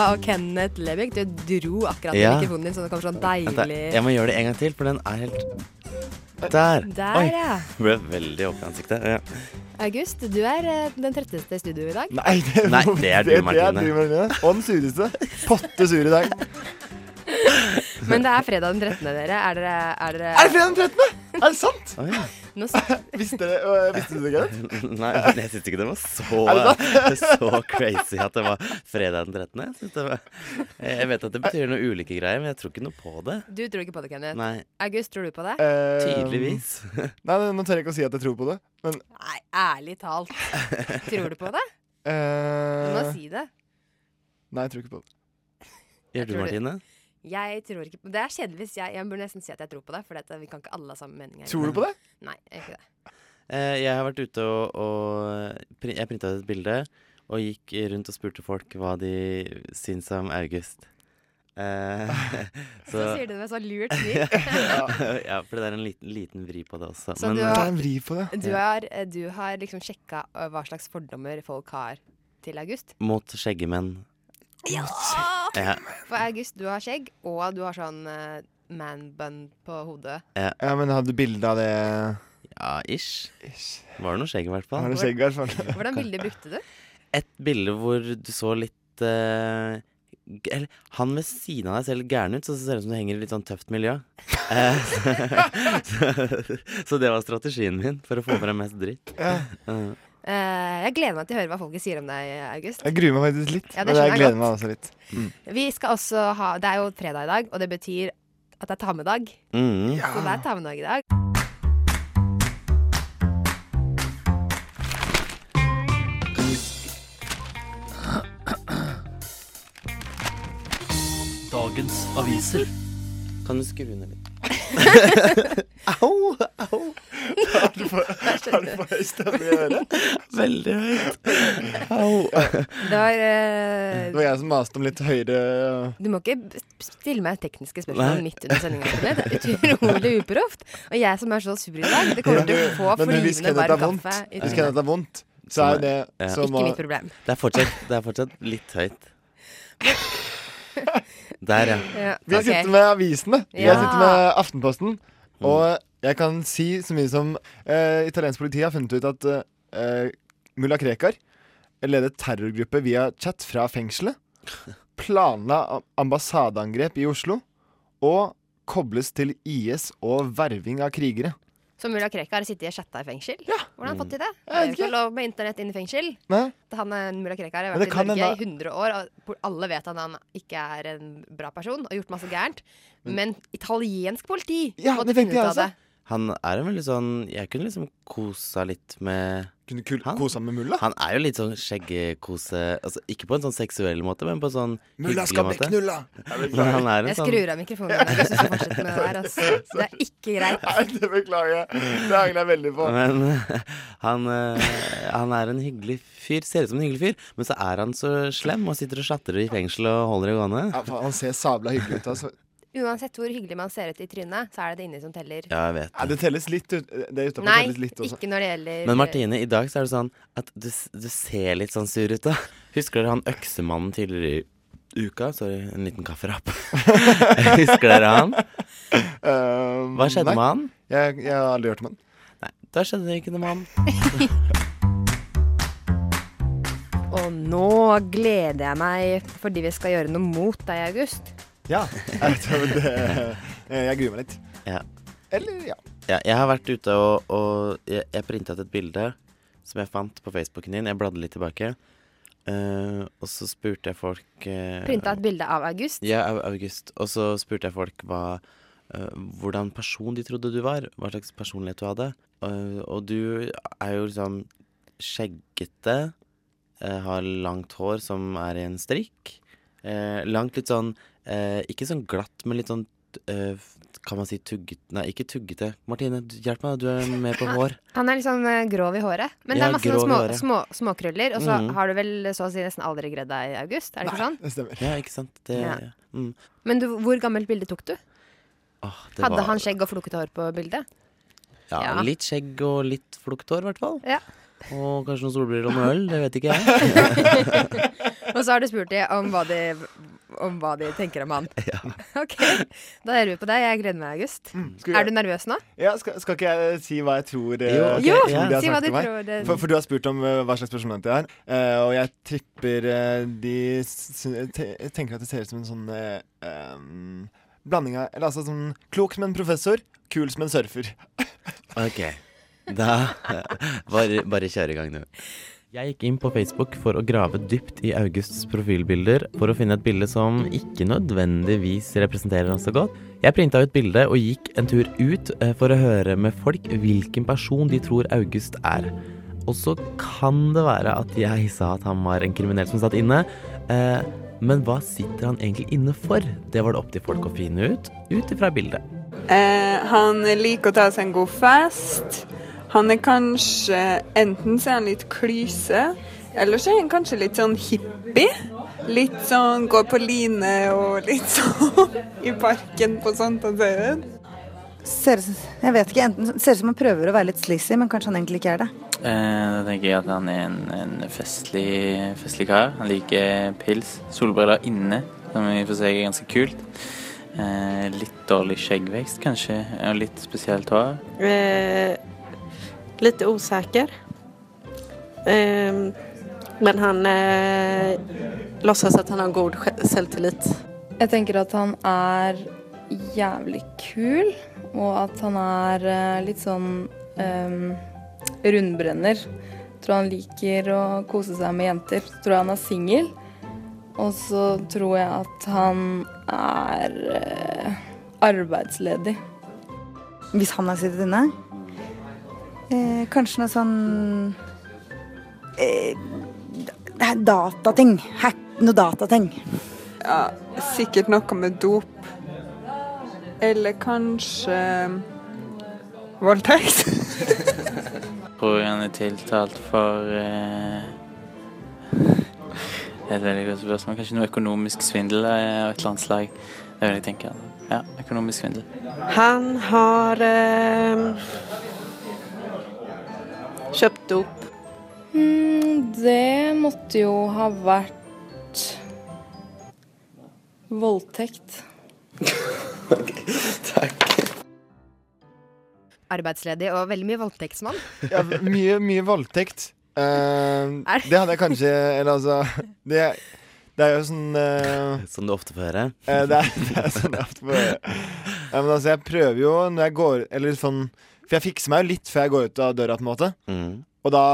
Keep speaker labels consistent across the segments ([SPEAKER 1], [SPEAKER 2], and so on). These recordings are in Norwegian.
[SPEAKER 1] av Kenneth Lebek. Du dro akkurat i
[SPEAKER 2] Ja.
[SPEAKER 1] mikrofonen din, så det kommer sånn
[SPEAKER 2] Vent,
[SPEAKER 1] deilig
[SPEAKER 2] jeg må gjøre det en gang til, for den er helt Der.
[SPEAKER 1] Der,
[SPEAKER 2] Oi.
[SPEAKER 1] ja.
[SPEAKER 2] Ble veldig opp i ansiktet. Ja.
[SPEAKER 1] August, du er eh, den tretteste i studio i dag.
[SPEAKER 3] Nei, det,
[SPEAKER 2] Nei, det er du, Martine.
[SPEAKER 3] du, Martine. Og den sureste. Potte sur i dag.
[SPEAKER 1] Men det er fredag den 13., dere. Er dere, er dere
[SPEAKER 3] Er det fredag den 13.? Er det sant?
[SPEAKER 2] Oi.
[SPEAKER 1] Nå s-
[SPEAKER 3] Visste, dere- øh, visste du det, Gareth?
[SPEAKER 2] Nei, men jeg syns ikke det var så,
[SPEAKER 3] Er
[SPEAKER 2] så crazy at det var fredag den 13. Jeg, synes det var, jeg vet at det betyr noe ulike greier, men jeg tror ikke noe på det.
[SPEAKER 1] Du tror ikke på det, Kenneth.
[SPEAKER 2] Nei,
[SPEAKER 1] August, tror du på det?
[SPEAKER 3] Eh,
[SPEAKER 2] tydeligvis.
[SPEAKER 3] Nei, nei, nå tør jeg ikke å si at jeg tror på det. Men
[SPEAKER 1] Nei, ærlig talt. Tror du på det? Du må
[SPEAKER 3] eh,
[SPEAKER 1] si det.
[SPEAKER 3] Nei, jeg tror ikke på det.
[SPEAKER 2] Gjør du,
[SPEAKER 1] tror det.
[SPEAKER 2] Martine?
[SPEAKER 1] Jeg tror ikke på Det er kjedelig hvis jeg Jeg burde nesten si at jeg tror på det, for dette, vi kan ikke alle ha samme mening. her.
[SPEAKER 3] Tror du på det?
[SPEAKER 1] Nei, jeg gjør ikke det.
[SPEAKER 2] Eh, jeg har vært ute og, og prin- Jeg printa ut et bilde og gikk rundt og spurte folk hva de syns om August. Eh,
[SPEAKER 1] Så, sier du det med sånn lurt smil.
[SPEAKER 2] ja, for det er en liten, liten vri på det også.
[SPEAKER 1] Så
[SPEAKER 2] men, eh,
[SPEAKER 1] du
[SPEAKER 3] Det
[SPEAKER 1] har-
[SPEAKER 3] er en vri på det.
[SPEAKER 1] Du har, du har liksom sjekka ø, hva slags fordommer folk har til August.
[SPEAKER 2] Mot skjeggemenn.
[SPEAKER 1] Ja!
[SPEAKER 2] Ja,
[SPEAKER 1] For August, du har skjegg, og du har sånn eh, man bun på hodet.
[SPEAKER 3] Ja, men hadde du bilde av det
[SPEAKER 2] ja, ish.
[SPEAKER 3] Ish.
[SPEAKER 2] Var det noe skjegg, i hvert fall.
[SPEAKER 3] Har du skjegg, i hvert fall?
[SPEAKER 1] Hvordan bilde brukte du?
[SPEAKER 2] Et bilde hvor du så litt eh, g- Eller han ved siden av deg ser litt gæren ut, så det ser ut som du henger i litt sånn tøft miljø. Eh, så, så det var strategien min for å få frem mest dritt.
[SPEAKER 3] Ja.
[SPEAKER 2] Eh,
[SPEAKER 1] Eh, jeg gleder meg til å høre hva folket sier om deg, August.
[SPEAKER 3] Jeg gruer meg faktisk litt.
[SPEAKER 1] Ja, det
[SPEAKER 3] men
[SPEAKER 1] skjønner
[SPEAKER 3] jeg
[SPEAKER 1] jeg
[SPEAKER 3] gleder meg også litt.
[SPEAKER 1] Vi skal også ha Det er jo fredag i dag, og det betyr at det er ta med dag.
[SPEAKER 2] mm.
[SPEAKER 1] Så det er ta med dag i dag.
[SPEAKER 4] Dagens aviser.
[SPEAKER 2] Kan du skru ned litt?
[SPEAKER 3] Au! Au! Har du for, har du for høy stemme i øret?
[SPEAKER 2] Veldig høyt. Au.
[SPEAKER 1] Det var eh,
[SPEAKER 3] Det var jeg som maste om litt høyere
[SPEAKER 1] Du må ikke b- stille meg tekniske spørsmål
[SPEAKER 2] Nei.
[SPEAKER 1] midt under sendinga. Det er utrolig uproft. Og jeg som er så sur i dag, det kommer
[SPEAKER 3] Men
[SPEAKER 1] til å
[SPEAKER 3] du-
[SPEAKER 1] få
[SPEAKER 3] men du, hvis
[SPEAKER 1] flyvende
[SPEAKER 3] Kenneth er
[SPEAKER 1] varm
[SPEAKER 3] vondt,
[SPEAKER 1] kaffe. i
[SPEAKER 3] Hvis
[SPEAKER 1] trynet.
[SPEAKER 3] Kenneth er vondt, så er jo det
[SPEAKER 2] Ja.
[SPEAKER 3] så
[SPEAKER 1] Ikke
[SPEAKER 3] må-
[SPEAKER 1] mitt problem.
[SPEAKER 2] Det er fortsatt, det er fortsatt litt høyt. Der, ja.
[SPEAKER 1] Ja,
[SPEAKER 3] Vi
[SPEAKER 1] ok.
[SPEAKER 3] sitter med avisene.
[SPEAKER 1] Ja.
[SPEAKER 3] Jeg sitter med Aftenposten. Og jeg kan si så mye som eh, Italiensk politi har funnet ut at eh, mulla Krekar ledet terrorgruppe via chat fra fengselet. Planla a- ambassadeangrep i Oslo. Og kobles til IS og verving av krigere.
[SPEAKER 1] Så mulla Krekar sitter i chatta i fengsel? Hvordan har han fått til det? Det
[SPEAKER 3] Mm. Jeg vet
[SPEAKER 1] er jo ikke
[SPEAKER 3] ikke.
[SPEAKER 1] lov med internett inn i fengsel.
[SPEAKER 3] Nei?
[SPEAKER 1] Han er mulla Krekar har
[SPEAKER 3] Men det
[SPEAKER 1] vært i
[SPEAKER 3] kan
[SPEAKER 1] Norge
[SPEAKER 3] hende-
[SPEAKER 1] i 100 år, og po- alle vet at han ikke er en bra person og har gjort masse gærent. Men italiensk politi
[SPEAKER 3] Ja,
[SPEAKER 1] måtte
[SPEAKER 3] det
[SPEAKER 1] finne ut
[SPEAKER 3] tenkte jeg
[SPEAKER 1] av
[SPEAKER 3] også.
[SPEAKER 1] det.
[SPEAKER 2] Han er en veldig sånn Jeg kunne liksom kosa litt med
[SPEAKER 3] Kunne kul
[SPEAKER 2] Han-
[SPEAKER 3] kose ham med mulla.
[SPEAKER 2] Han er jo litt sånn skjeggekose Altså ikke på en sånn seksuell måte, men på en sånn hyggelig måte.
[SPEAKER 3] knulla!
[SPEAKER 2] Men han er en
[SPEAKER 1] Jeg
[SPEAKER 2] sånn
[SPEAKER 1] skrur av mikrofonen. i dag, hvis du skal fortsette med Det der, altså. Det er ikke greit.
[SPEAKER 3] Nei, det beklager jeg. Det angrer jeg veldig på.
[SPEAKER 2] men han, eh, han er en hyggelig fyr. Ser ut som en hyggelig fyr, men så er han så slem og sitter og chatter i fengsel og holder det gående.
[SPEAKER 3] Ja, faen, han ser sabla hyggelig ut. Altså.
[SPEAKER 1] Uansett hvor hyggelig man ser ut i trynet, så er det det inni som teller.
[SPEAKER 2] Ja, jeg vet
[SPEAKER 3] Ja,
[SPEAKER 2] det.
[SPEAKER 3] det telles litt ut. Det er utenfor
[SPEAKER 1] Nei,
[SPEAKER 3] telles litt også.
[SPEAKER 1] ikke når det gjelder
[SPEAKER 2] Men Martine, i dag så er det sånn at du, s- du ser litt sånn sur ut, da. Husker dere han øksemannen tidligere i uka? Sorry, en liten kafferapp. Husker dere han?
[SPEAKER 3] Ehm,
[SPEAKER 2] Hva skjedde
[SPEAKER 3] nei,
[SPEAKER 2] med han?
[SPEAKER 3] Jeg, jeg har aldri hørt om den.
[SPEAKER 2] Nei, da skjedde det ikke noe med han.
[SPEAKER 1] Og nå gleder jeg meg fordi vi skal gjøre noe mot deg, August.
[SPEAKER 3] Ja, jeg, tror det, eh, jeg gruer meg litt.
[SPEAKER 2] Ja.
[SPEAKER 3] Eller ja.
[SPEAKER 2] Ja, jeg har vært ute og, og jeg, jeg printa ut et bilde som jeg fant på Facebooken din. Jeg bladde litt tilbake. Eh, og så spurte jeg folk eh,
[SPEAKER 1] Printa et bilde av August.
[SPEAKER 2] Ja, Au- August. Og så spurte jeg folk hva, eh, hvordan person de trodde du var. Hva slags personlighet du hadde. Eh, og du er jo liksom skjeggete, eh, har langt hår som er i en strikk. Eh, langt litt sånn eh, Ikke sånn glatt, men litt sånn eh, Kan man si tuggete Nei, ikke tuggete. Martine, du- hjelp meg, du er mer på hår.
[SPEAKER 1] Han er litt
[SPEAKER 5] liksom,
[SPEAKER 1] sånn eh, grov i håret. Men det
[SPEAKER 2] Ja,
[SPEAKER 1] er masse
[SPEAKER 2] grov i
[SPEAKER 1] sånn små,
[SPEAKER 2] håret.
[SPEAKER 1] små, småkrøller. Og så
[SPEAKER 2] Mhm.
[SPEAKER 1] har du vel så å si nesten aldri gredd deg, August. Er det ikke sånn?
[SPEAKER 3] Det stemmer.
[SPEAKER 2] Ja, ikke sant? Det,
[SPEAKER 1] Ja.
[SPEAKER 2] Mm.
[SPEAKER 1] Men du, hvor gammelt bilde tok du?
[SPEAKER 2] Åh, det
[SPEAKER 1] Hadde
[SPEAKER 2] var,
[SPEAKER 1] han skjegg og flokete hår på bildet?
[SPEAKER 2] Ja,
[SPEAKER 1] Ja.
[SPEAKER 2] Litt skjegg og litt flukthår, i hvert fall.
[SPEAKER 1] Ja.
[SPEAKER 2] Og kanskje noen solbriller og noe øl. Det vet ikke jeg.
[SPEAKER 5] Og så har du spurt dem om hva de, om hva de tenker om han. Ok, Da hører vi på deg. Jeg gleder meg, August.
[SPEAKER 3] Skal,
[SPEAKER 5] Mm. Er du nervøs nå?
[SPEAKER 3] ja, skal, skal ikke jeg si hva jeg tror eh,
[SPEAKER 2] Jo, Ok,
[SPEAKER 5] jo!
[SPEAKER 3] tror de har
[SPEAKER 5] Si hva du
[SPEAKER 3] sagt til meg?
[SPEAKER 5] tror. Det.
[SPEAKER 3] For, for du har spurt om eh, hva slags personlighet jeg har, eh, og jeg tripper eh, de s- te- Jeg tenker at det ser ut som en sånn eh, em, blanding av Eller altså sånn klok som en professor, kul som en surfer.
[SPEAKER 2] Ok. Da bare, bare kjør i gang, du. Jeg gikk inn på Facebook for å grave dypt i Augusts profilbilder for å finne et bilde som ikke nødvendigvis representerer ham så godt. Jeg printa ut bildet og gikk en tur ut eh, for å høre med folk hvilken person de tror August er. Og så kan det være at jeg sa at han var en kriminell som satt inne. Eh, men hva sitter han egentlig inne for? Det var det opp til folk å finne ut ut ifra bildet.
[SPEAKER 6] Eh, han liker å ta seg en god fest. Han er kanskje Enten så er han litt klyse, eller så er han kanskje litt sånn hippie. Litt sånn går på line og litt sånn i parken på Sankthanshaugen.
[SPEAKER 7] Ser, jeg vet ikke, enten, ser ut som han prøver å være litt sleazy, men kanskje han egentlig ikke er det.
[SPEAKER 8] Eh, Da tenker jeg at han er en, en festlig, festlig kar. Han liker pils. Solbriller inne, som i og for seg er ganske kult. Eh, litt dårlig skjeggvekst, kanskje, og litt spesielt hår.
[SPEAKER 9] Eh, lite osäker. Eh, men han eh, låtsas att han har god sj- självtillit.
[SPEAKER 10] Jeg tenker at han er jævlig kul, og at han er eh, litt sånn ehm, rundbrenner. Tror han liker å kose seg med jenter. Tror han er singel. Og så tror jeg at han er eh, arbeidsledig.
[SPEAKER 7] Hvis han har sittet inne. Eh, kanskje noe sånn eh, det er Datating. Hack, noe datating.
[SPEAKER 6] Ja, sikkert noe med dop. Eller kanskje voldtekt.
[SPEAKER 8] Tror jeg han er tiltalt for eh, Det er et veldig godt spørsmål. Kanskje noe økonomisk svindel eh, av et eller annet slag. Det vil jeg tenke. Ja, økonomisk svindel.
[SPEAKER 9] Han har eh, köpt dop.
[SPEAKER 10] Hmm, det måtte jo ha vært voldtekt.
[SPEAKER 5] Arbeidsledig og veldig mye voldtektsmann.
[SPEAKER 3] Ja, mye, mye voldtekt. Eh,
[SPEAKER 5] Er-
[SPEAKER 3] det hadde jeg kanskje Eller altså Det, det er jo sånn eh,
[SPEAKER 2] Som du ofte får høre.
[SPEAKER 3] Eh, det, er, det er sånn jeg ofte får høre. Ja, men altså, jeg prøver jo når jeg går Eller sånn For jeg fikser meg jo litt før jeg går ut av døra, på en måte.
[SPEAKER 2] Mm.
[SPEAKER 3] Og da,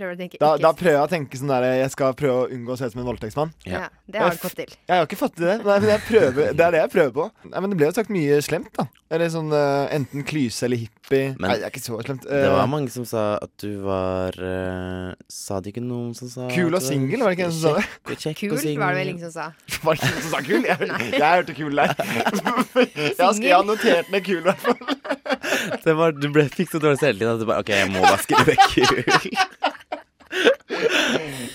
[SPEAKER 5] Prøver å tenke
[SPEAKER 3] da,
[SPEAKER 5] ikke
[SPEAKER 3] da prøver jeg å tenke sånn der Jeg skal prøve å unngå å se ut som en voldtektsmann.
[SPEAKER 5] ja. Det har du fått til.
[SPEAKER 3] Jeg har jo ikke fått til det, nei, men jeg prøver, det er det jeg prøver på. Nei, men Det ble jo sagt mye slemt, da. Eller sånn eh, enten klyse eller hippie.
[SPEAKER 2] Men-
[SPEAKER 3] nei, det er ikke så slemt. Eh,
[SPEAKER 2] Det var mange som sa at du var eh, Sa det ikke noen som sa
[SPEAKER 3] Kul og singel, var det ikke en som sa det?
[SPEAKER 2] det? Kjekk
[SPEAKER 5] Kul
[SPEAKER 2] og singel.
[SPEAKER 5] var det vel ingen som sa.
[SPEAKER 3] Var det ikke noen som sa kul? Jeg, jeg hørte kul der. Jeg har, jeg har notert ned kul, i hvert fall.
[SPEAKER 2] Det var, du ble, fikk så dårlig selvtillit at du bare OK, jeg må bare skrive kul.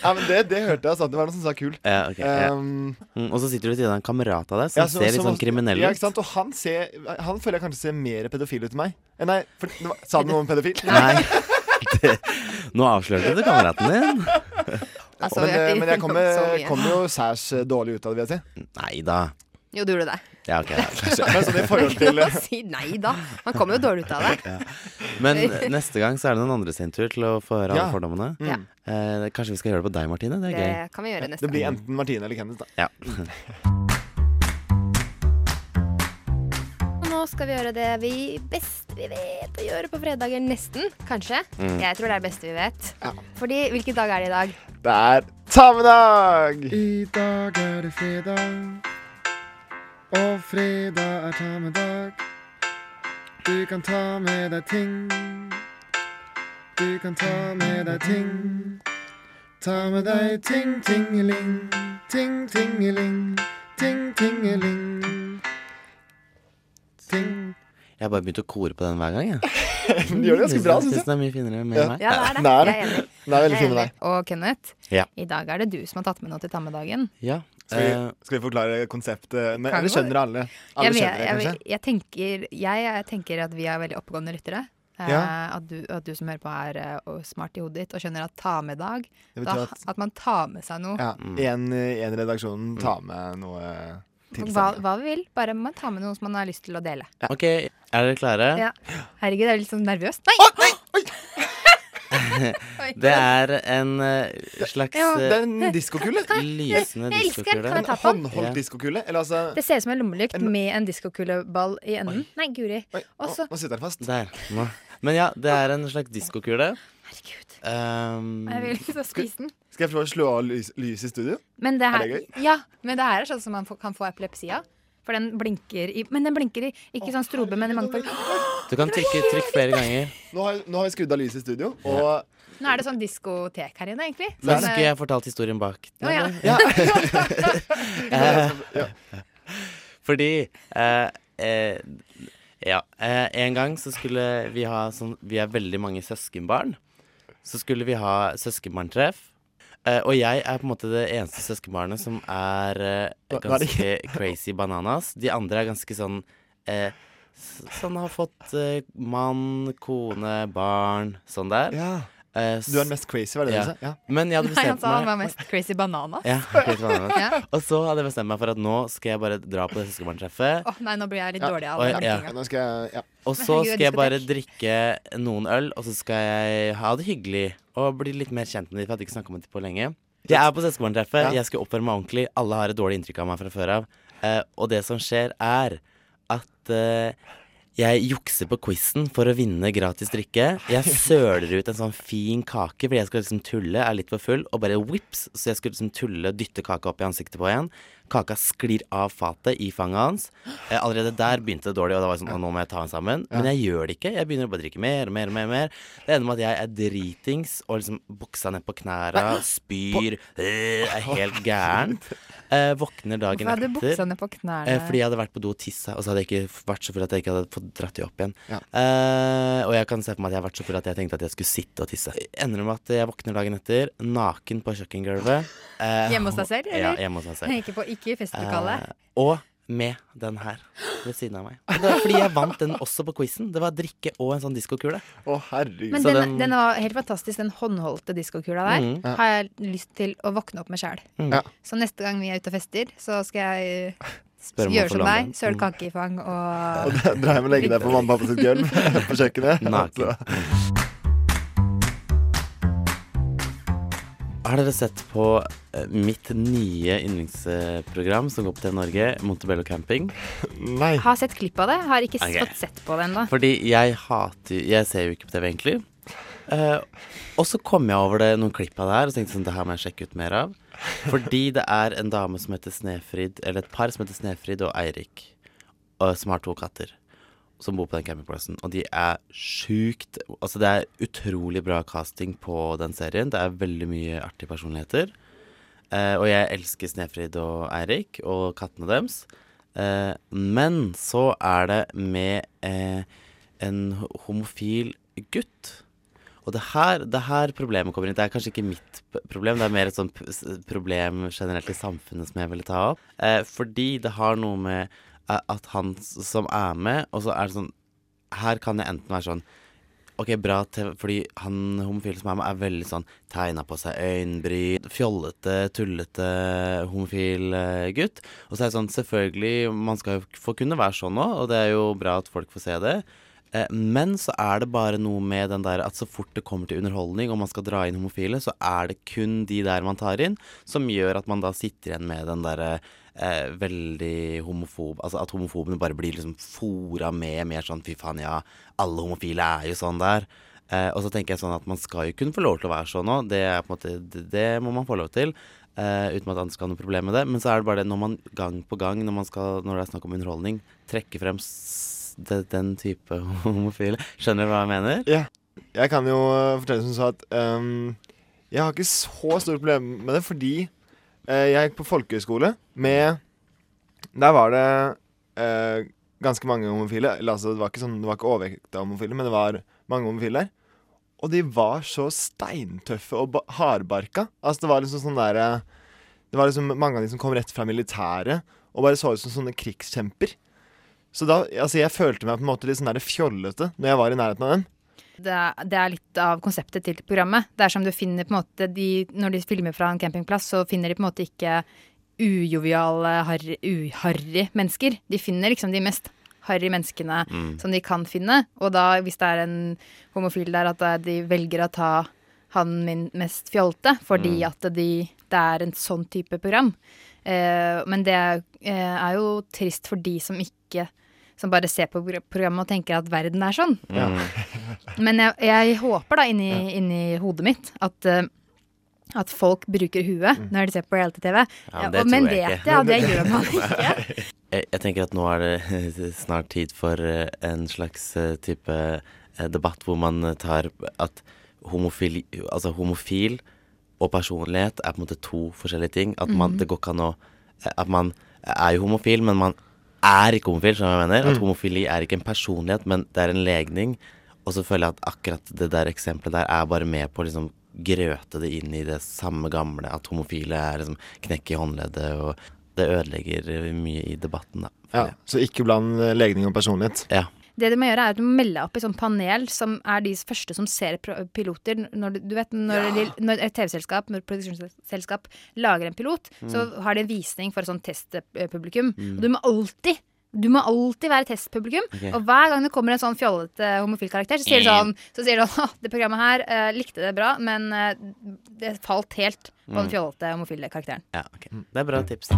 [SPEAKER 3] Nei, men det, det hørte jeg. Altså. Det var noen som sa kul.
[SPEAKER 2] ja, ok, ja.
[SPEAKER 3] Um,
[SPEAKER 2] Mm, og så sitter du ved siden av en kamerat av deg som
[SPEAKER 3] Ja, så-
[SPEAKER 2] ser litt
[SPEAKER 3] som
[SPEAKER 2] sånn
[SPEAKER 3] også-
[SPEAKER 2] kriminell
[SPEAKER 3] Ja,
[SPEAKER 2] ut.
[SPEAKER 3] ikke sant? Og han, ser, han føler jeg kanskje ser mer pedofil ut enn meg. Eh, Nei, for, det var- sa du noe om pedofil?
[SPEAKER 2] Nei. Det, nå avslørte du kameraten din.
[SPEAKER 5] Altså,
[SPEAKER 3] men,
[SPEAKER 5] vi har
[SPEAKER 3] eh,
[SPEAKER 5] ikke
[SPEAKER 3] men
[SPEAKER 5] innom
[SPEAKER 3] jeg
[SPEAKER 5] så
[SPEAKER 3] kommer
[SPEAKER 5] mye.
[SPEAKER 3] kom jo særs eh, dårlig ut av det, vil jeg si.
[SPEAKER 2] Nei da.
[SPEAKER 5] Jo, du gjorde det.
[SPEAKER 2] Ja, ok. ja, kanskje.
[SPEAKER 3] Men sånn i forhold til eh,
[SPEAKER 5] Si nei da. Han kommer jo dårlig ut av det.
[SPEAKER 2] Men neste gang så er det noen andre sin tur til å få høre alle
[SPEAKER 3] Ja. Mm.
[SPEAKER 2] fordommene.
[SPEAKER 5] Ja.
[SPEAKER 2] Eh, kanskje vi skal gjøre det på deg, Martine? Det er
[SPEAKER 5] Det
[SPEAKER 2] gøy.
[SPEAKER 5] kan vi gjøre neste
[SPEAKER 3] Det blir
[SPEAKER 5] gang.
[SPEAKER 3] enten Martine eller Kenneth, da.
[SPEAKER 2] Ja.
[SPEAKER 5] Nå skal vi gjøre det vi best vi vet å gjøre på fredager, nesten. Kanskje.
[SPEAKER 3] Mm.
[SPEAKER 5] Jeg tror det er det beste vi vet. Fordi hvilken dag er det i dag?
[SPEAKER 3] Det er tammedag! I dag er det fredag, og fredag er tammedag. Du kan ta med deg ting. Du kan ta med deg ting. Ta med deg ting, tingeling. Ting, tingeling. Ting, tingeling. Ting.
[SPEAKER 2] Jeg har bare begynt å kore på den hver gang, jeg.
[SPEAKER 3] Du gjør det ganske bra,
[SPEAKER 2] Synes
[SPEAKER 3] syns jeg.
[SPEAKER 2] den er mye finere med
[SPEAKER 3] Ja.
[SPEAKER 2] meg.
[SPEAKER 5] Ja, det er det.
[SPEAKER 3] Nei,
[SPEAKER 5] Jeg er enig.
[SPEAKER 3] Det er veldig
[SPEAKER 5] Jeg er
[SPEAKER 3] fint med
[SPEAKER 5] enig.
[SPEAKER 3] deg.
[SPEAKER 5] Og Kenneth,
[SPEAKER 2] Ja.
[SPEAKER 5] i dag er det du som har tatt med noe til tammedagen.
[SPEAKER 2] Ja.
[SPEAKER 3] Skal
[SPEAKER 2] eh,
[SPEAKER 3] vi, skal vi forklare konseptet? Men,
[SPEAKER 5] Kan
[SPEAKER 3] eller
[SPEAKER 5] gå.
[SPEAKER 3] skjønner alle?
[SPEAKER 5] Jeg,
[SPEAKER 3] Alle
[SPEAKER 5] vet-
[SPEAKER 3] skjønner det,
[SPEAKER 5] jeg,
[SPEAKER 3] kanskje?
[SPEAKER 5] jeg, tenker, jeg, jeg tenker at vi er veldig oppegående lyttere. Eh,
[SPEAKER 1] eh,
[SPEAKER 3] Ja.
[SPEAKER 1] at, du, at du som hører på er eh, og smart i hodet ditt og skjønner at ta med dag
[SPEAKER 3] Det
[SPEAKER 1] da,
[SPEAKER 3] betyr
[SPEAKER 1] at, man tar med seg noe.
[SPEAKER 3] Ja, en, en redaksjonen tar med noe til
[SPEAKER 1] Hva,
[SPEAKER 3] seg.
[SPEAKER 1] hva vi vil, bare man tar med noe som man har lyst til å dele.
[SPEAKER 2] OK, er dere klare?
[SPEAKER 1] Ja. Herregud, jeg er litt sånn nervøs. Nei!
[SPEAKER 2] Det er en eh, slags
[SPEAKER 1] Ja, det er
[SPEAKER 3] en
[SPEAKER 2] eh,
[SPEAKER 3] diskokule.
[SPEAKER 2] Lysende
[SPEAKER 1] Jeg elsker den.
[SPEAKER 2] diskokule.
[SPEAKER 1] Kan jeg ta på den?
[SPEAKER 3] En håndholdt diskokule? Eller altså
[SPEAKER 1] Det ser ut som en lommelykt med en diskokuleball i enden. Nei, guri. Og så
[SPEAKER 3] Nå sitter den fast.
[SPEAKER 2] Der. Nå. Men ja, det er en slags diskokule.
[SPEAKER 1] Herregud.
[SPEAKER 2] Um,
[SPEAKER 1] Jeg vil ikke så spise den.
[SPEAKER 3] Skal jeg prøve å slå av lyset lys i studio?
[SPEAKER 1] Men det her,
[SPEAKER 3] Er det gøy?
[SPEAKER 1] Ja, men det her er sånn som man får- kan få epilepsi av. For den blinker i Men den blinker i ikke sånn strobe, men i mange former.
[SPEAKER 2] Du kan trykke trykk flere ganger.
[SPEAKER 3] Nå har, nå har vi skrudd av lyset i studio, og
[SPEAKER 1] Nå er det sånn diskotek her inne, egentlig.
[SPEAKER 2] Nå
[SPEAKER 1] Sånn,
[SPEAKER 2] skulle
[SPEAKER 1] eh,
[SPEAKER 2] jeg fortalt historien bak.
[SPEAKER 1] Å, ja.
[SPEAKER 2] Eh, Fordi eh, eh, Ja. Eh, en gang så skulle vi ha sånn Vi er veldig mange søskenbarn. Så skulle vi ha søskenbarntreff. Eh, og jeg er på en måte det eneste søskenbarnet som er eh,
[SPEAKER 3] Hva- hva er det?
[SPEAKER 2] ganske crazy bananas. De andre er ganske sånn eh, s- Sånn har fått eh, mann, kone, barn, sånn der.
[SPEAKER 3] Ja.
[SPEAKER 2] Eh,
[SPEAKER 3] Du er den mest crazy, var det det du sa? Ja.
[SPEAKER 2] Men jeg hadde
[SPEAKER 1] Nei, han
[SPEAKER 2] bestemt
[SPEAKER 1] sa han
[SPEAKER 2] meg
[SPEAKER 1] var mest crazy bananas.
[SPEAKER 2] ja, helt vanlig.
[SPEAKER 1] Ja.
[SPEAKER 2] Og så hadde jeg bestemt meg for at nå skal jeg bare dra på det søskenbarntreffet.
[SPEAKER 1] Åh, nei, nå blir jeg litt dårlig av
[SPEAKER 2] Og,
[SPEAKER 1] den
[SPEAKER 2] ja.
[SPEAKER 1] blinkinga.
[SPEAKER 2] og
[SPEAKER 1] Herregud,
[SPEAKER 2] så skal jeg
[SPEAKER 1] diskotek.
[SPEAKER 2] bare drikke noen øl, og så skal jeg ha det hyggelig og bli litt mer kjent med dem, for jeg hadde ikke snakka med dem på lenge. Jeg er på søskenbarntreffet,
[SPEAKER 3] Ja.
[SPEAKER 2] jeg skal oppføre meg ordentlig. Alle har et dårlig inntrykk av meg fra før av. Eh, og det som skjer, er at eh, jeg jukser på quizen for å vinne gratis drikke. Jeg søler ut en sånn fin kake fordi jeg skal liksom tulle, er litt for full, og bare whips, så jeg skulle liksom tulle, dytte kaka opp i ansiktet på en. Kaka sklir av fatet i fanget hans. Eh, allerede der begynte det dårlig, og da var jeg sånn, «Å, nå må jeg ta den sammen. Men jeg gjør det ikke. Jeg begynner å bare drikke mer og mer og mer. og mer. Det ender med at jeg er dritings og liksom buksa ned på knæra, spyr, øh, er helt gæren. Eh, våkner dagen
[SPEAKER 1] Hvorfor hadde du
[SPEAKER 2] etter.
[SPEAKER 1] buksa ned på knærne?
[SPEAKER 2] Eh, fordi jeg hadde vært på do og tissa, og så hadde jeg ikke f- vært så full at jeg ikke hadde fått dratt de opp igjen.
[SPEAKER 3] Ja.
[SPEAKER 2] Eh, og jeg kan se for meg at jeg har vært så full at jeg tenkte at jeg skulle sitte og tisse. Ender med at jeg våkner dagen etter, naken på kjøkkengulvet. Eh,
[SPEAKER 1] Hjemme hos deg selv, eller?
[SPEAKER 2] Ja, hjemme hos meg selv.
[SPEAKER 1] Ikke, på, ikke i festlokalet.
[SPEAKER 2] Eh, og med den her ved siden av meg. Og Det var fordi jeg vant den også på quizen. Det var drikke og en sånn diskokule.
[SPEAKER 3] Å, herregud.
[SPEAKER 1] Men
[SPEAKER 2] så
[SPEAKER 1] den,
[SPEAKER 2] den-
[SPEAKER 1] den, var helt fantastisk, den håndholdte diskokula der.
[SPEAKER 2] Mm.
[SPEAKER 3] Ja.
[SPEAKER 1] Har jeg lyst til å våkne opp med sjæl.
[SPEAKER 3] Ja.
[SPEAKER 1] Så neste gang vi er ute og fester, så skal jeg eh,
[SPEAKER 2] Spør om Mm. man
[SPEAKER 1] gjøre
[SPEAKER 2] får
[SPEAKER 1] som
[SPEAKER 2] låne
[SPEAKER 1] deg.
[SPEAKER 2] den.
[SPEAKER 1] Søl kake i fang og
[SPEAKER 3] Og dra hjem og legge deg på mamma og pappa sitt gulv på kjøkkenet.
[SPEAKER 2] Naken.
[SPEAKER 3] Så-
[SPEAKER 2] Har dere sett på eh, mitt nye yndlingsprogram som går på TV Norge, Montebello Camping?
[SPEAKER 3] Nei.
[SPEAKER 1] Har sett klipp av det. Har ikke
[SPEAKER 2] Ok.
[SPEAKER 1] fått sett på det ennå.
[SPEAKER 2] Fordi jeg hater Jeg ser jo ikke på TV egentlig. Eh, og så kom jeg over det, noen klipp av det her og tenkte sånn, det her må jeg sjekke ut mer av. Fordi det er en dame som heter Snefrid, eller et par som heter Snefrid og Eirik, og, som har to katter, som bor på den campingplassen. Og de er sjukt Altså, det er utrolig bra casting på den serien. Det er veldig mye artige personligheter. Eh, og jeg elsker Snefrid og Eirik og kattene deres. Eh, men så er det med eh, en ho- homofil gutt. Og det her, det her problemet kommer inn. Det er kanskje ikke mitt p- problem, det er mer et sånt p- s- problem generelt i samfunnet som jeg ville ta opp. Eh, fordi det har noe med eh, at han s- som er med, og så er det sånn Her kan jeg enten være sånn Ok, bra TV, fordi han homofile som er med, er veldig sånn tegna på seg øyenbryn, fjollete, tullete homofil eh, gutt. Og så er det sånn, selvfølgelig, man skal jo få kunne være sånn òg, og det er jo bra at folk får se det. Eh, Men så er det bare noe med den der at så fort det kommer til underholdning, og man skal dra inn homofile, så er det kun de der man tar inn, som gjør at man da sitter igjen med den derre eh, veldig homofob Altså at homofobene bare blir liksom fora med mer sånn fy faen, ja, alle homofile er jo sånn der. Eh, og så tenker jeg sånn at man skal jo kunne få lov til å være sånn òg, det, er på en måte- det- det må man få lov til. eh, uten at andre skal ha noe problem med det. Men så er det bare det når man gang på gang, når, man skal, når det er snakk om underholdning, trekker frem s- de, den type homofile Skjønner du hva jeg mener?
[SPEAKER 3] Ja. Jeg kan jo eh, fortelle som så at ehm, jeg har ikke så store problemer med det, fordi eh, jeg gikk på folkehøyskole med Der var det eh, ganske mange homofile. Eller altså, det var ikke, sånn, det var ikke overvekt av homofile, men det var mange homofile der. Og de var så steintøffe og ba- hardbarka. Altså, det var liksom sånn derre Det var liksom mange av de som kom rett fra militæret og bare så ut som sånne krigskjemper. Så da, altså jeg følte meg på en måte litt sånn der fjollete når jeg var i nærheten av dem.
[SPEAKER 1] det er, det er litt av konseptet til programmet. Det er som du finner på en måte de, Når de filmer fra en campingplass, så finner de på en måte ikke ujoviale, harry- uharry mennesker. De finner liksom de mest harry menneskene
[SPEAKER 11] Mm.
[SPEAKER 1] som de kan finne. Og da, hvis det er en homofil der, at de velger å ta han min mest fjolte, fordi
[SPEAKER 11] Mm.
[SPEAKER 1] at de, det er en sånn type program. Eh, men det er, eh, er jo trist for de som ikke Som bare ser på progr- programmet og tenker at verden er sånn.
[SPEAKER 11] Ja.
[SPEAKER 2] Mm.
[SPEAKER 1] Men jeg, jeg håper da inni, inni hodet mitt at eh, at folk bruker huet når de ser på reality-TV.
[SPEAKER 2] Mm. Ja, men
[SPEAKER 1] Ja,
[SPEAKER 2] det
[SPEAKER 1] og- men
[SPEAKER 2] tror jeg
[SPEAKER 1] vet
[SPEAKER 2] ikke.
[SPEAKER 1] jeg at det gjør man ikke.
[SPEAKER 2] Jeg, jeg tenker at nå er det snart tid for eh, en slags eh, type eh, debatt hvor man eh, tar at homofil, altså homofil og personlighet er på en måte to forskjellige ting. At man,
[SPEAKER 12] Mhm.
[SPEAKER 2] det går ikke an å eh, At man er jo homofil, men man er ikke homofil, skjønner du hva jeg mener? At homofili er ikke en personlighet, men det er en legning. Og så føler jeg at akkurat det der eksempelet der er bare med på å liksom grøte det inn i det samme gamle, at homofile er liksom knekk i håndleddet, og det ødelegger eh, mye i debatten, da.
[SPEAKER 3] Ja, så ikke bland eh, legning og personlighet.
[SPEAKER 2] Ja.
[SPEAKER 1] Det du må gjøre, er at du må melde deg opp i sånn panel som er de første som ser pro- piloter. Når, du- du vet, når, de, når et TV-selskap, når et produksjonsselskap lager en pilot, så
[SPEAKER 11] Mm.
[SPEAKER 1] har de en visning for et sånt testpublikum.
[SPEAKER 11] Mm.
[SPEAKER 1] Og du må alltid du må alltid være testpublikum,
[SPEAKER 11] Ok. Mm.
[SPEAKER 1] og hver gang det kommer en sånn fjollete homofil karakter, så sier du sånn, så sier du sånn «Åh, det programmet her eh, likte det bra, men eh, det falt helt på
[SPEAKER 2] Mm.
[SPEAKER 1] den fjollete homofile karakteren.
[SPEAKER 2] Ja, ok. Mm. Det er bra tips.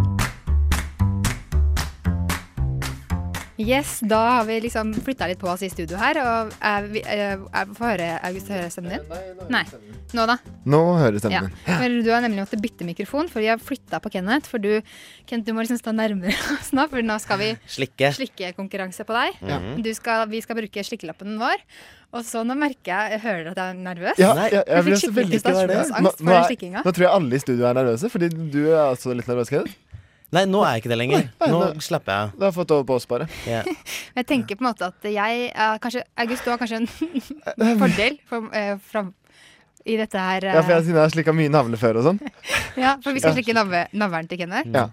[SPEAKER 1] Yes, da har vi liksom flytta litt på oss i studio her. Og er vi, er, er, Få høre, August, høre stemmen din? Nei. Nå, da?
[SPEAKER 3] Nå hører stemmen din.
[SPEAKER 1] Ja. Men du har nemlig måttet bytte mikrofon, for vi har flytta på Kenneth. For du, Kenneth, du må liksom stå nærmere oss nå, for nå skal vi
[SPEAKER 2] Slikke.
[SPEAKER 1] slikkekonkurranse på deg.
[SPEAKER 2] Ja.
[SPEAKER 1] Du skal, vi skal bruke slikkelappen vår. Og så nå merker jeg, jeg hører at jeg er nervøs.
[SPEAKER 3] Ja, jeg, jeg,
[SPEAKER 1] Du
[SPEAKER 3] ble
[SPEAKER 1] fikk
[SPEAKER 3] så
[SPEAKER 1] skikkelig
[SPEAKER 3] veldig ikke være det. Nå,
[SPEAKER 1] prestasjonsangst
[SPEAKER 3] nå,
[SPEAKER 1] for den
[SPEAKER 3] er,
[SPEAKER 1] slikkinga.
[SPEAKER 3] nå tror jeg alle i studio er nervøse, fordi du er også litt nervøs, Kenneth.
[SPEAKER 2] Nei, nå er jeg ikke det lenger. Nå slapper jeg av.
[SPEAKER 3] Det har fått over på oss, bare.
[SPEAKER 2] Ja.
[SPEAKER 1] Men jeg tenker på en måte at jeg eh, kanskje, August, du har kanskje en fordel for, eh, fram, i dette her. eh,
[SPEAKER 3] Ja, for jeg siden jeg har slikka mye navler før og sånn.
[SPEAKER 1] Ja, for vi skal
[SPEAKER 3] Ja.
[SPEAKER 1] slikke navle- navlen til Kenneth.
[SPEAKER 3] Ja.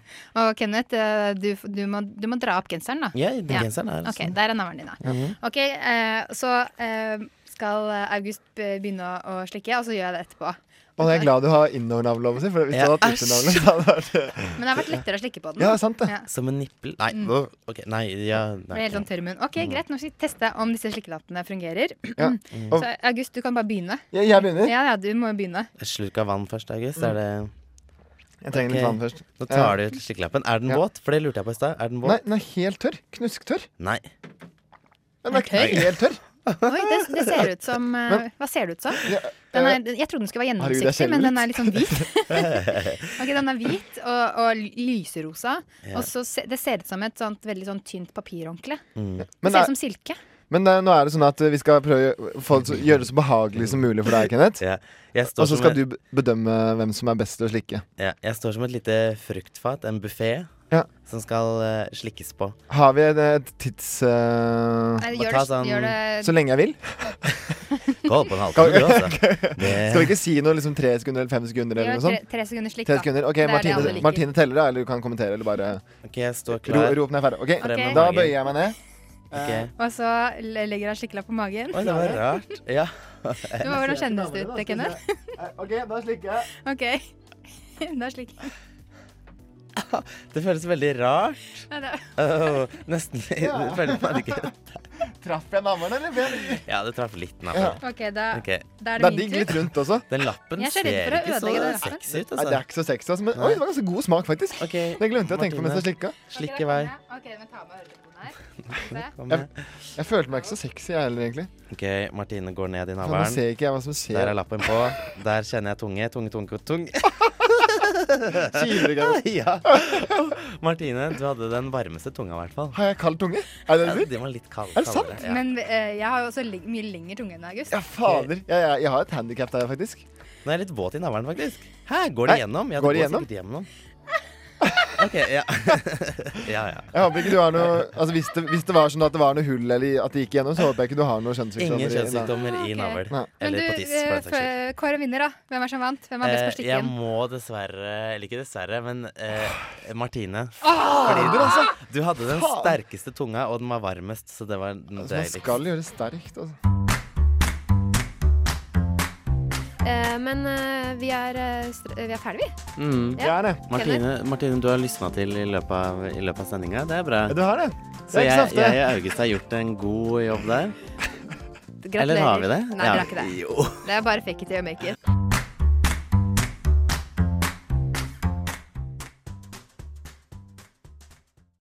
[SPEAKER 1] Og Kenneth, eh, du, du, må, du må dra opp genseren, da.
[SPEAKER 2] Ja, den genseren er
[SPEAKER 1] Ok,
[SPEAKER 2] sånn.
[SPEAKER 1] Der er navlen din, da.
[SPEAKER 2] Mhm.
[SPEAKER 1] Ok, eh, så eh, skal eh, August be- begynne å, å slikke, og så gjør jeg det etterpå.
[SPEAKER 3] Og jeg er glad du har indoor-navle, over seg, for hvis du
[SPEAKER 2] Ja.
[SPEAKER 3] hadde hatt uternavle, så hadde det vært
[SPEAKER 1] Men det har vært lettere å slikke på den.
[SPEAKER 3] Ja, sant det.
[SPEAKER 2] Som en nippel Nei,
[SPEAKER 1] Mm.
[SPEAKER 2] nå- ok, nei, ja
[SPEAKER 1] Ble helt sånn
[SPEAKER 2] nei.
[SPEAKER 1] tørr i munnen. Ok,
[SPEAKER 3] Mhm.
[SPEAKER 1] greit, nå skal vi teste om disse slikkelappene fungerer.
[SPEAKER 2] Ja.
[SPEAKER 1] Så August, du kan bare begynne.
[SPEAKER 3] Ja, jeg begynner.
[SPEAKER 1] Ja, ja, du må jo begynne.
[SPEAKER 2] Et slurk av vann først, August. Er det
[SPEAKER 3] Mm. Jeg trenger litt
[SPEAKER 2] Ok,
[SPEAKER 3] vann først.
[SPEAKER 2] Nå tar du ut slikkelappen. Er den våt? For det lurte jeg på i stad. Er den
[SPEAKER 3] Nei,
[SPEAKER 2] våt?
[SPEAKER 3] den er helt tørr. Knusktørr.
[SPEAKER 2] Nei.
[SPEAKER 3] Den er
[SPEAKER 1] tørr?
[SPEAKER 3] helt tørr.
[SPEAKER 1] Oi, det, det ser ut som eh,
[SPEAKER 3] Men- eh,
[SPEAKER 1] Hva ser det ut som? Den er, jeg trodde den skulle være
[SPEAKER 3] Herregud, jeg
[SPEAKER 1] gjennomsiktig,
[SPEAKER 3] skjelver
[SPEAKER 1] men den
[SPEAKER 3] litt.
[SPEAKER 1] er litt sånn hvit. Ok, Den er hvit og, og lyserosa.
[SPEAKER 3] Ja.
[SPEAKER 1] Og så se, det ser ut som et sånt, veldig sånn tynt papirhåndkle.
[SPEAKER 3] Mm. Men
[SPEAKER 1] Det ser
[SPEAKER 3] er-
[SPEAKER 1] ut som silke.
[SPEAKER 3] Men eh, nå er det sånn at eh, vi skal prøve å få det så- gjøre det så behagelig som mulig for deg, Kenneth.
[SPEAKER 2] Jeg står
[SPEAKER 3] Og så
[SPEAKER 2] som
[SPEAKER 3] skal
[SPEAKER 2] en-
[SPEAKER 3] du be- bedømme hvem som er best til å slikke.
[SPEAKER 2] Ja, jeg står som et lite fruktfat, en buffé,
[SPEAKER 3] Ja.
[SPEAKER 2] som skal eh, slikkes på.
[SPEAKER 3] Har vi et, et tids eh,
[SPEAKER 1] Nei, gjør det-
[SPEAKER 3] sånn
[SPEAKER 1] gjør det-
[SPEAKER 3] Så lenge jeg vil?
[SPEAKER 2] Gå på en halvtime, du, altså. Det-
[SPEAKER 3] Skal vi ikke si noe liksom tre sekunder eller fem sekunder eller
[SPEAKER 1] Gjør
[SPEAKER 3] noe
[SPEAKER 1] tre,
[SPEAKER 3] sånt?
[SPEAKER 1] tre sekunder slik,
[SPEAKER 3] Tre
[SPEAKER 1] da.
[SPEAKER 3] sekunder. Ok,
[SPEAKER 1] Det er det alle
[SPEAKER 3] Martine,
[SPEAKER 1] liker.
[SPEAKER 3] Martine teller, da. Eller du kan kommentere, eller bare
[SPEAKER 2] Ok, jeg står
[SPEAKER 3] ro,
[SPEAKER 2] klar.
[SPEAKER 3] Rop ned ferdig. Ok,
[SPEAKER 2] Frem med
[SPEAKER 3] da
[SPEAKER 2] magen.
[SPEAKER 3] bøyer jeg meg ned.
[SPEAKER 2] Ok.
[SPEAKER 1] Og så le- legger han slikkelapp på magen.
[SPEAKER 2] Oi, det var rart. Ja.
[SPEAKER 1] Det var Hvordan kjennes det ut, Kenneth?
[SPEAKER 3] OK, da slikker jeg.
[SPEAKER 1] OK. Da slikker jeg.
[SPEAKER 2] Det føles veldig rart.
[SPEAKER 1] Ja, det-
[SPEAKER 2] Åh, nesten litt
[SPEAKER 3] Ja.
[SPEAKER 2] føler meg ikke-
[SPEAKER 3] Traff jeg navlen, eller? ble jeg-
[SPEAKER 2] Ja, det traff litt
[SPEAKER 3] Ja.
[SPEAKER 2] nappen.
[SPEAKER 1] OK, da,
[SPEAKER 2] Ok.
[SPEAKER 1] da er det min
[SPEAKER 3] digg
[SPEAKER 1] tur.
[SPEAKER 3] litt rundt også.
[SPEAKER 2] Den lappen
[SPEAKER 1] Jeg er så
[SPEAKER 2] ser
[SPEAKER 1] redd for å
[SPEAKER 2] ikke
[SPEAKER 1] ødelegge
[SPEAKER 2] så
[SPEAKER 1] den lappen.
[SPEAKER 2] sexy ut,
[SPEAKER 3] Nei, det er
[SPEAKER 2] altså.
[SPEAKER 3] ikke så sexy, altså. Men oi, det var ganske god smak, faktisk. Det glemte jeg å tenke på mens jeg slikka.
[SPEAKER 2] Slikk i vei.
[SPEAKER 1] OK, men ta med øreproppen her.
[SPEAKER 2] Kom
[SPEAKER 3] Jeg,
[SPEAKER 2] med.
[SPEAKER 3] jeg følte meg ikke så sexy, jeg heller, egentlig.
[SPEAKER 2] OK, Martine går ned i
[SPEAKER 3] For Nå ser
[SPEAKER 2] navlen.
[SPEAKER 3] ikke jeg hva som skjer.
[SPEAKER 2] Der er lappen på. Der kjenner jeg tunge. Tunge, tunge, tunge.
[SPEAKER 3] Kiler i gang.
[SPEAKER 2] ja. Martine, du hadde den varmeste tunga, i hvert fall.
[SPEAKER 3] Har jeg kald tunge? Er det det du
[SPEAKER 2] Ja, den var litt kald,
[SPEAKER 3] Er det sant?
[SPEAKER 2] kaldere, ja.
[SPEAKER 1] Men eh, jeg har jo også le- mye lengre tunge enn August. Ja,
[SPEAKER 3] Fader. Jeg, jeg, jeg har et handikap der, faktisk.
[SPEAKER 2] Den er litt våt i navlen, faktisk. Hæ, går det
[SPEAKER 3] Hæ?
[SPEAKER 2] gjennom?
[SPEAKER 3] Går det
[SPEAKER 2] sikkert gjennom. OK, ja. ja, ja.
[SPEAKER 3] Jeg håper ikke du har noe Altså Hvis det, hvis det var sånn at det var noe hull eller at det gikk igjennom, så håper jeg ikke du har noen kjønnssykdommer.
[SPEAKER 2] Ingen kjønnssykdommer i navl.
[SPEAKER 3] Nei.
[SPEAKER 1] Men du,
[SPEAKER 2] Eller på tiss, for den saks skyld.
[SPEAKER 1] eh, kår en vinner, da. Hvem er som vant? Hvem er best på
[SPEAKER 2] Eh, jeg
[SPEAKER 1] slikken?
[SPEAKER 2] må dessverre Eller ikke dessverre, men eh, Martine.
[SPEAKER 1] Ah!
[SPEAKER 3] Fader, altså.
[SPEAKER 2] du hadde den
[SPEAKER 3] Faen.
[SPEAKER 2] sterkeste tunga, og den var varmest, så det var
[SPEAKER 3] Altså, man
[SPEAKER 2] deilig.
[SPEAKER 3] skal gjøre det sterkt, altså.
[SPEAKER 1] Eh, men eh, vi er, eh, str- vi er ferdige, vi.
[SPEAKER 2] Mm.
[SPEAKER 1] Ja, Ja, det.
[SPEAKER 2] Martine, Martine, du har lysna til i løpet av, i løpet av sendinga. Det er bra.
[SPEAKER 3] Du har det. Det
[SPEAKER 2] Så
[SPEAKER 3] er ikke så
[SPEAKER 2] jeg,
[SPEAKER 3] ofte.
[SPEAKER 2] jeg og August har gjort en god jobb der.
[SPEAKER 1] Gratulerer.
[SPEAKER 2] Eller har vi det?
[SPEAKER 1] Nei,
[SPEAKER 2] Ja.
[SPEAKER 1] vi har ikke det.
[SPEAKER 2] Jo.
[SPEAKER 1] Det er bare fake it till you make it.